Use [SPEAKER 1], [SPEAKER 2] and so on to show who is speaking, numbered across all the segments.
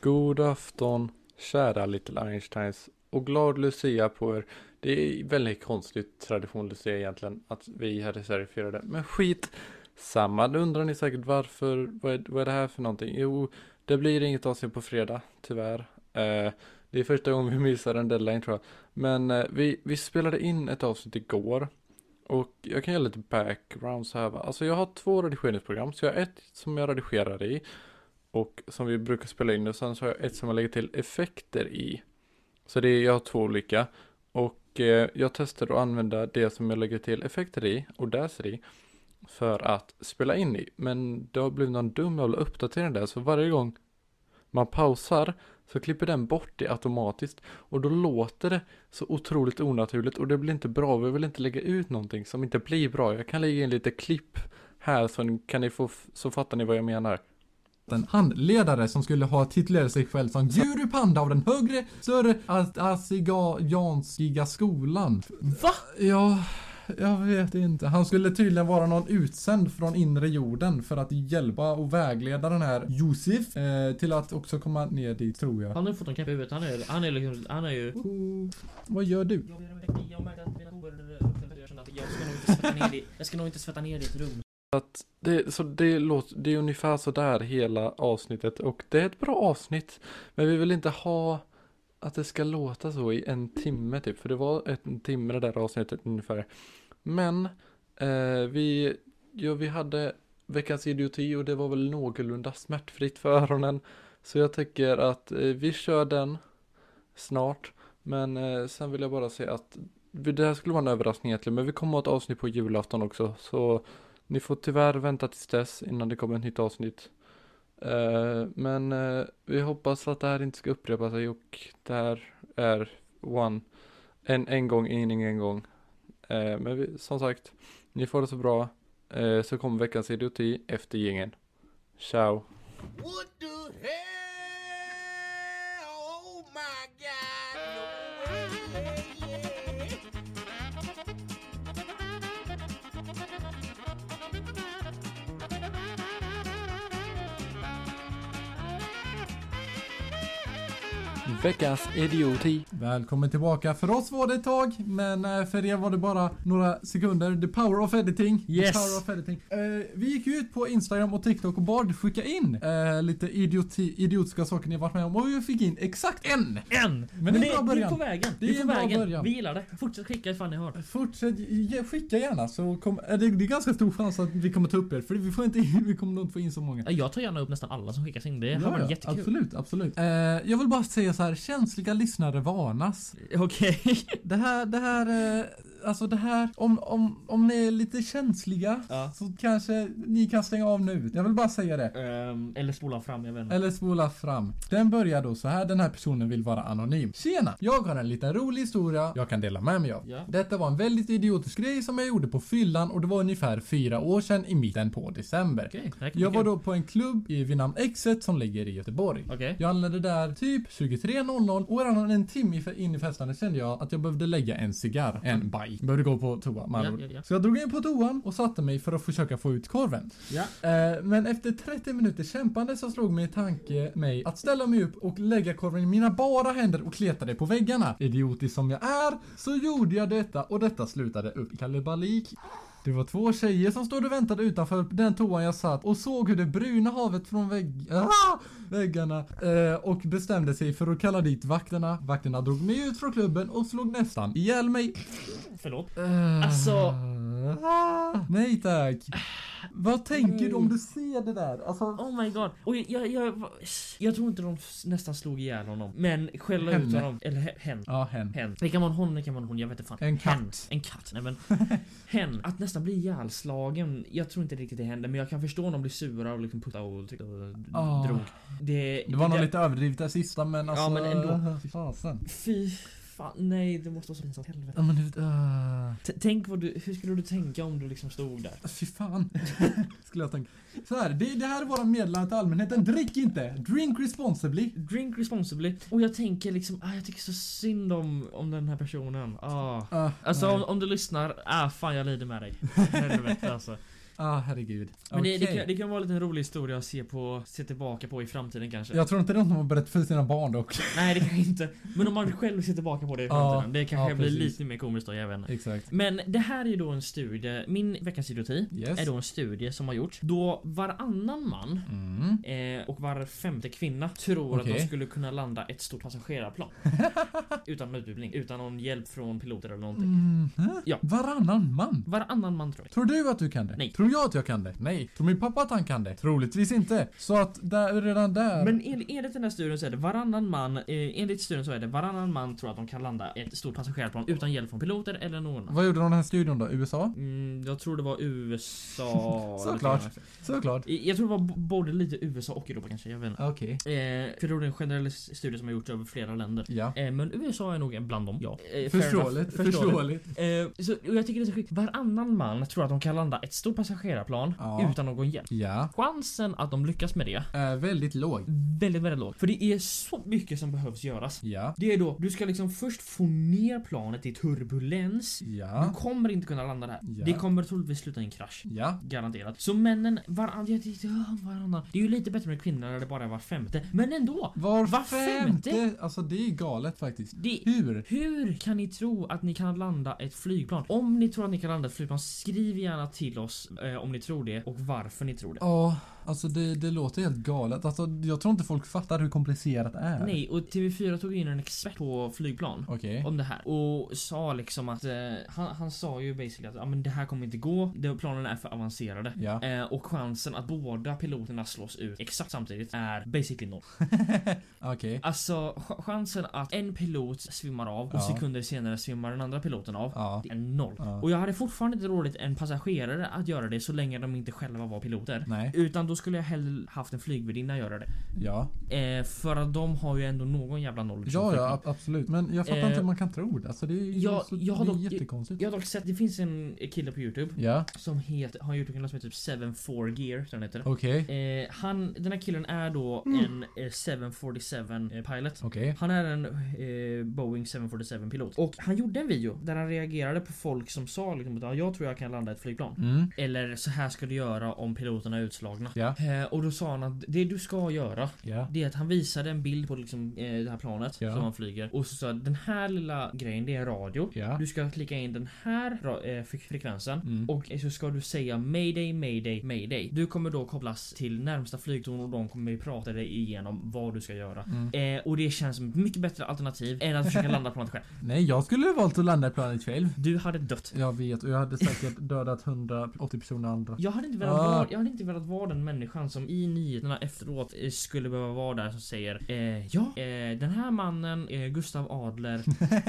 [SPEAKER 1] God afton, kära Little Einsteins och glad Lucia på er. Det är väldigt konstigt tradition Lucia egentligen att vi här i Sverige firar det. Men skit samma, nu undrar ni säkert varför, vad är, vad är det här för någonting? Jo, det blir inget avsnitt på fredag, tyvärr. Eh, det är första gången vi missar en deadline tror jag. Men eh, vi, vi spelade in ett avsnitt igår. Och jag kan ge lite background så här va. Alltså jag har två redigeringsprogram. Så jag har ett som jag redigerar i. Och som vi brukar spela in. Och sen så har jag ett som jag lägger till effekter i. Så det är, jag har två olika. Och eh, jag testade att använda det som jag lägger till effekter i. Och Audacity För att spela in i. Men det har blivit någon dum jävla uppdatering där. Så varje gång man pausar. Så klipper den bort det automatiskt. Och då låter det så otroligt onaturligt och det blir inte bra. Vi vill inte lägga ut någonting som inte blir bra. Jag kan lägga in lite klipp här så ni- kan ni få, f- så fattar ni vad jag menar.
[SPEAKER 2] en handledare som skulle ha titulerat sig själv som Guru Panda av den högre, större as- asiatiska skolan. Va? Ja, jag vet inte. Han skulle tydligen vara någon utsänd från inre jorden för att hjälpa och vägleda den här Josef eh, till att också komma ner dit, tror jag.
[SPEAKER 3] Han har fått en knäpp i huvudet, han är, han är liksom, han är ju...
[SPEAKER 2] Vad gör du?
[SPEAKER 3] Jag märker att mina toer jag känner att jag ska nog inte svetta ner dig. Jag ska nog inte svetta ner dig i ett rum.
[SPEAKER 1] Att det, så det, låter, det är ungefär så där hela avsnittet och det är ett bra avsnitt. Men vi vill inte ha att det ska låta så i en timme typ. För det var ett, en timme det där avsnittet ungefär. Men eh, vi, ja, vi hade veckans idioti och det var väl någorlunda smärtfritt för öronen. Så jag tycker att eh, vi kör den snart. Men eh, sen vill jag bara säga att vi- det här skulle vara en överraskning egentligen. Men vi kommer ha ett avsnitt på julafton också. Så ni får tyvärr vänta tills dess innan det kommer ett nytt avsnitt. Eh, men eh, vi hoppas att det här inte ska upprepa sig och det här är one. En, en gång, ingen en gång. Eh, men vi, som sagt, ni får det så bra. Eh, så kommer veckans idioti efter gängen. Ciao.
[SPEAKER 4] What the hell? Oh my god! No way!
[SPEAKER 1] Veckans idioti.
[SPEAKER 2] Välkommen tillbaka. För oss var det ett tag, men eh, för er var det bara några sekunder. The power of editing. The
[SPEAKER 3] Yes.
[SPEAKER 2] Power of editing. Eh, vi gick ut på Instagram och TikTok och bad skicka in eh, lite idioti- idiotiska saker ni varit med om och vi fick in exakt en!
[SPEAKER 3] En!
[SPEAKER 2] Men det är en bra
[SPEAKER 3] Vi är
[SPEAKER 2] början.
[SPEAKER 3] på vägen.
[SPEAKER 2] Det
[SPEAKER 3] vi
[SPEAKER 2] är
[SPEAKER 3] är
[SPEAKER 2] en
[SPEAKER 3] på
[SPEAKER 2] bra
[SPEAKER 3] vägen.
[SPEAKER 2] början.
[SPEAKER 3] Vi gillar det. Fortsätt skicka ifall ni har.
[SPEAKER 2] Fortsätt ge, skicka gärna så kom, eh, det, det är ganska stor chans att vi kommer ta upp er för vi, får inte, in- vi kommer nog inte få in så många.
[SPEAKER 3] Ja, Jag tar gärna upp nästan alla som skickas in. Det har varit jättekul.
[SPEAKER 2] absolut, absolut. Eh, jag vill bara säga så här, känsliga lyssnare varnas.
[SPEAKER 3] Okej.
[SPEAKER 2] Det här, det här, eh, alltså det här, om, om, om ni är lite känsliga
[SPEAKER 3] Ja.
[SPEAKER 2] så kanske ni kan stänga av nu. Jag vill bara säga det.
[SPEAKER 3] Ehm, eller spola fram, jag vet inte.
[SPEAKER 2] Eller spola fram. Den börjar då så här, den här personen vill vara anonym. Tjena! Jag har en liten rolig historia jag kan dela med mig av.
[SPEAKER 3] Ja.
[SPEAKER 2] Detta var en väldigt idiotisk grej som jag gjorde på fyllan och det var ungefär fyra år sedan i mitten på december.
[SPEAKER 3] Okej, det här kan bli
[SPEAKER 2] Jag var
[SPEAKER 3] kul.
[SPEAKER 2] då på en klubb i vid namn Exet som ligger i Göteborg.
[SPEAKER 3] Okej.
[SPEAKER 2] Jag anlände där typ 23.00 och redan en timme fe- in i festandet kände jag att jag behövde lägga en cigarr, en baj. Behövde gå på toa
[SPEAKER 3] Ja,
[SPEAKER 2] med andra ord.
[SPEAKER 3] ja, ja.
[SPEAKER 2] Så jag drog in på toan och satte mig för att försöka få ut korven.
[SPEAKER 3] Ja.
[SPEAKER 2] Eh, men efter 30 minuter kämpande så slog min tanke mig att ställa mig upp och lägga korven i mina bara händer och kleta det på väggarna. Idiotisk som jag är så gjorde jag detta och detta slutade upp i kalabalik. Det var två tjejer som stod och väntade utanför den toan jag satt och såg hur det bruna havet från vägg... Ah! väggarna eh, och bestämde sig för att kalla dit vakterna. Vakterna drog mig ut från klubben och slog nästan ihjäl mig.
[SPEAKER 3] Förlåt.
[SPEAKER 2] Eh,
[SPEAKER 3] Alltså-
[SPEAKER 2] ah, nej tack. Vad tänker du om du ser det där? Alltså,
[SPEAKER 3] Oh my god. Och jag, jag, jag, jag tror inte de s- nästan slog ihjäl honom. Men skälla ut
[SPEAKER 2] Henne.
[SPEAKER 3] honom. Eller he- hen.
[SPEAKER 2] Ja, hen.
[SPEAKER 3] Hen. Det kan vara en hon, det kan vara en hon, jag vet inte fan.
[SPEAKER 2] En katt.
[SPEAKER 3] Hen. En katt, nej men. hen. Att nästan bli ihjälslagen. Jag tror inte riktigt det hände men jag kan förstå om de blir sura och liksom puttade och tyckte och d-
[SPEAKER 2] Ja.
[SPEAKER 3] drog. Det,
[SPEAKER 2] Ah. Det var nog lite överdrivet det sista men alltså...
[SPEAKER 3] Ja, men ändå.
[SPEAKER 2] Fy fasen.
[SPEAKER 3] Fy fan, nej det måste vara så pinsamt. Helvete.
[SPEAKER 2] Ja men du vet, ah.
[SPEAKER 3] T- tänk vad du, hur skulle du tänka om du liksom stod där?
[SPEAKER 2] Fy fan. Skulle jag tänka. Så här, det, det här är våra meddelande till allmänheten. Drick inte! Drink responsibly.
[SPEAKER 3] Drink responsibly. Och jag tänker liksom, ah, jag tycker så synd om, om den här personen. Ah.
[SPEAKER 2] Ah,
[SPEAKER 3] Alltså
[SPEAKER 2] nej.
[SPEAKER 3] om, om du lyssnar, ah fan jag lider med dig. Helvete alltså.
[SPEAKER 2] Ah, herregud.
[SPEAKER 3] Men det, det,
[SPEAKER 2] Okej.
[SPEAKER 3] kan, det kan vara en liten rolig historia att se, på, se tillbaka på i framtiden kanske.
[SPEAKER 2] Jag tror inte det är något de har berättat för sina barn dock.
[SPEAKER 3] Nej det kan jag inte. Men om man själv ser tillbaka på det i
[SPEAKER 2] Ja,
[SPEAKER 3] framtiden. det kanske
[SPEAKER 2] ja,
[SPEAKER 3] blir
[SPEAKER 2] precis.
[SPEAKER 3] lite mer komiskt då, jag vet inte.
[SPEAKER 2] Exakt.
[SPEAKER 3] Men det här är ju då en studie, min veckans idioti
[SPEAKER 2] Yes.
[SPEAKER 3] är då en studie som har gjorts då varannan man
[SPEAKER 2] Mm.
[SPEAKER 3] eh, och var femte kvinna tror att
[SPEAKER 2] Okej.
[SPEAKER 3] de skulle kunna landa ett stort passagerarplan. utan utbildning, utan någon hjälp från piloter eller någonting.
[SPEAKER 2] Mm.
[SPEAKER 3] Ja.
[SPEAKER 2] Varannan man.
[SPEAKER 3] Varannan man tror jag.
[SPEAKER 2] Tror du att du kan det?
[SPEAKER 3] Nej.
[SPEAKER 2] Tror jag att jag kan det? Nej. Tror min pappa att han kan det? Troligtvis inte. Så att där, redan där.
[SPEAKER 3] Men en- enligt den här studien så är det varannan man, eh, enligt studien så är det varannan man tror att de kan landa ett stort passagerarplan utan hjälp från piloter eller någon annan.
[SPEAKER 2] Vad gjorde de i den här studion då? USA?
[SPEAKER 3] Mm, jag tror det var USA...
[SPEAKER 2] Såklart.
[SPEAKER 3] lite grann.
[SPEAKER 2] Såklart.
[SPEAKER 3] I- Jag tror det var b- både lite USA och Europa kanske, jag vet inte.
[SPEAKER 2] Okej.
[SPEAKER 3] Eh, för det är en generell s- studie som har gjorts över flera länder.
[SPEAKER 2] Ja.
[SPEAKER 3] Eh, men USA är nog bland dem, ja. Eh, fair enough.
[SPEAKER 2] Förståeligt. Förståeligt.
[SPEAKER 3] Eh, så, och jag tycker det är så sjukt. Varannan man tror att de kan landa ett stort passagerarplan
[SPEAKER 2] Ja.
[SPEAKER 3] utan någon hjälp.
[SPEAKER 2] Ja.
[SPEAKER 3] Chansen att de lyckas med det,
[SPEAKER 2] Är väldigt låg.
[SPEAKER 3] väldigt, väldigt låg. För det är så mycket som behövs göras.
[SPEAKER 2] Ja.
[SPEAKER 3] Det är då, du ska liksom först få ner planet i turbulens. Du
[SPEAKER 2] Ja.
[SPEAKER 3] kommer inte kunna landa där.
[SPEAKER 2] Ja.
[SPEAKER 3] Det kommer troligtvis sluta i en krasch.
[SPEAKER 2] Ja.
[SPEAKER 3] Garanterat. Så männen, varann, jag tyckte, ja, varannan. Det är ju lite bättre med kvinnor när det bara är var femte. Men ändå!
[SPEAKER 2] Var,
[SPEAKER 3] Var
[SPEAKER 2] femte?
[SPEAKER 3] femte?
[SPEAKER 2] Alltså det är galet faktiskt.
[SPEAKER 3] Det,
[SPEAKER 2] Hur?
[SPEAKER 3] hur kan ni tro att ni kan landa ett flygplan? Om ni tror att ni kan landa ett flygplan, skriv gärna till oss eh, om ni tror det och varför ni tror det.
[SPEAKER 2] Ja, alltså det, det låter helt galet. Alltså jag tror inte folk fattar hur komplicerat det är.
[SPEAKER 3] Nej, och TV4 tog in en expert på flygplan.
[SPEAKER 2] Okej.
[SPEAKER 3] om det här och sa liksom att eh, han, han sa ju basically att ah, men det här kommer inte gå. Det, planen är för avancerade.
[SPEAKER 2] Ja.
[SPEAKER 3] Eh, och chansen att båda piloterna slås ut exakt samtidigt är basically noll.
[SPEAKER 2] Okej.
[SPEAKER 3] Alltså ch- chansen att en pilot svimmar av och
[SPEAKER 2] Ja.
[SPEAKER 3] sekunder senare svimmar den andra piloten av.
[SPEAKER 2] Ja.
[SPEAKER 3] Det är noll.
[SPEAKER 2] Ja.
[SPEAKER 3] Och jag hade fortfarande inte rådigt en passagerare att göra det så länge de inte själva var piloter.
[SPEAKER 2] Nej.
[SPEAKER 3] Utan då skulle jag hellre haft en flygvärdinna göra det.
[SPEAKER 2] Ja.
[SPEAKER 3] Eh, för att de har ju ändå någon jävla noll.
[SPEAKER 2] Ja, ja, ab- absolut. Liksom, Men jag fattar
[SPEAKER 3] Eh,
[SPEAKER 2] inte hur man kan tro det. Alltså det är ju
[SPEAKER 3] jag-
[SPEAKER 2] så,
[SPEAKER 3] jag har
[SPEAKER 2] det är
[SPEAKER 3] dock-
[SPEAKER 2] jättekonstigt.
[SPEAKER 3] Jag har dock sett, det finns en kille på youtube
[SPEAKER 2] Ja,
[SPEAKER 3] som heter, har en Youtube-kanal som heter typ 74 Gear, tror jag den heter.
[SPEAKER 2] okej.
[SPEAKER 3] Eh, han, den här killen är då
[SPEAKER 2] Mm.
[SPEAKER 3] en eh, 747 eh, pilot.
[SPEAKER 2] Okej.
[SPEAKER 3] Han är en eh, Boeing 747 pilot. Och han gjorde en video där han reagerade på folk som sa liksom att "Ja, jag tror jag kan landa ett flygplan.
[SPEAKER 2] Mm.
[SPEAKER 3] Eller så här ska du göra om piloterna är utslagna.
[SPEAKER 2] Ja.
[SPEAKER 3] Eh, och då sa han att det du ska göra
[SPEAKER 2] Ja.
[SPEAKER 3] det är att han visade en bild på liksom, eh, det här planet
[SPEAKER 2] Ja.
[SPEAKER 3] som han flyger och så sa han, den här lilla grejen det är radio.
[SPEAKER 2] Ja.
[SPEAKER 3] Du ska klicka in den här ra- eh, fre- frekvensen
[SPEAKER 2] Mm.
[SPEAKER 3] och så ska du säga mayday, mayday, mayday. Du kommer då kopplas till närmsta flygtorn och de kommer prata dig igenom vad du ska göra.
[SPEAKER 2] Mm.
[SPEAKER 3] Eh, och det känns som ett mycket bättre alternativ än att försöka landa planet själv.
[SPEAKER 2] Nej, jag skulle ha valt att landa i planet själv.
[SPEAKER 3] Du hade dött.
[SPEAKER 2] Jag vet och jag hade säkert dödat 180 personer andra.
[SPEAKER 3] Jag hade, inte velat
[SPEAKER 2] Ah.
[SPEAKER 3] vara, jag hade inte velat vara den människan som i nyheterna efteråt eh, skulle behöva vara där som säger eh, Ja, eh, den här mannen, eh, Gustav Adler,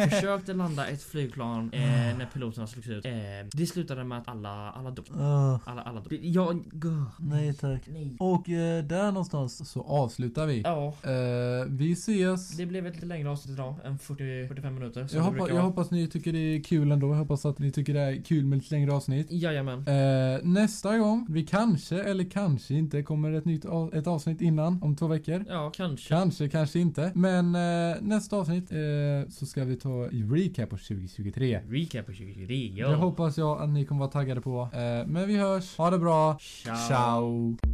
[SPEAKER 3] försökte landa ett flygplan eh,
[SPEAKER 2] Ah.
[SPEAKER 3] när piloterna slogs ut. Eh, det slutade med att alla, alla dog.
[SPEAKER 2] Ah.
[SPEAKER 3] Alla, alla dog. Det- Jag... Gah,
[SPEAKER 2] nej tack.
[SPEAKER 3] nej.
[SPEAKER 2] Och eh, där någonstans så avslutar vi.
[SPEAKER 3] Ja,
[SPEAKER 2] Eh, vi ses.
[SPEAKER 3] det blev ett lite längre avsnitt idag än 40, 45 minuter. som
[SPEAKER 2] Jag,
[SPEAKER 3] det
[SPEAKER 2] hoppa,
[SPEAKER 3] brukar
[SPEAKER 2] jag
[SPEAKER 3] vara.
[SPEAKER 2] hoppas ni tycker det är kul ändå. Jag hoppas att ni tycker det är kul med lite längre avsnitt.
[SPEAKER 3] Jajamän.
[SPEAKER 2] Eh, nästa gång, vi kanske eller kanske inte kommer ett nytt av, ett avsnitt innan om två veckor.
[SPEAKER 3] Ja, kanske.
[SPEAKER 2] Kanske, kanske inte. Men eh, nästa avsnitt eh, så ska vi ta i recap på 2023.
[SPEAKER 3] Recap på 2023.
[SPEAKER 2] Det hoppas jag att ni kommer vara taggade på. Eh, men vi hörs. Ha det bra.
[SPEAKER 3] Ciao.
[SPEAKER 2] Ciao.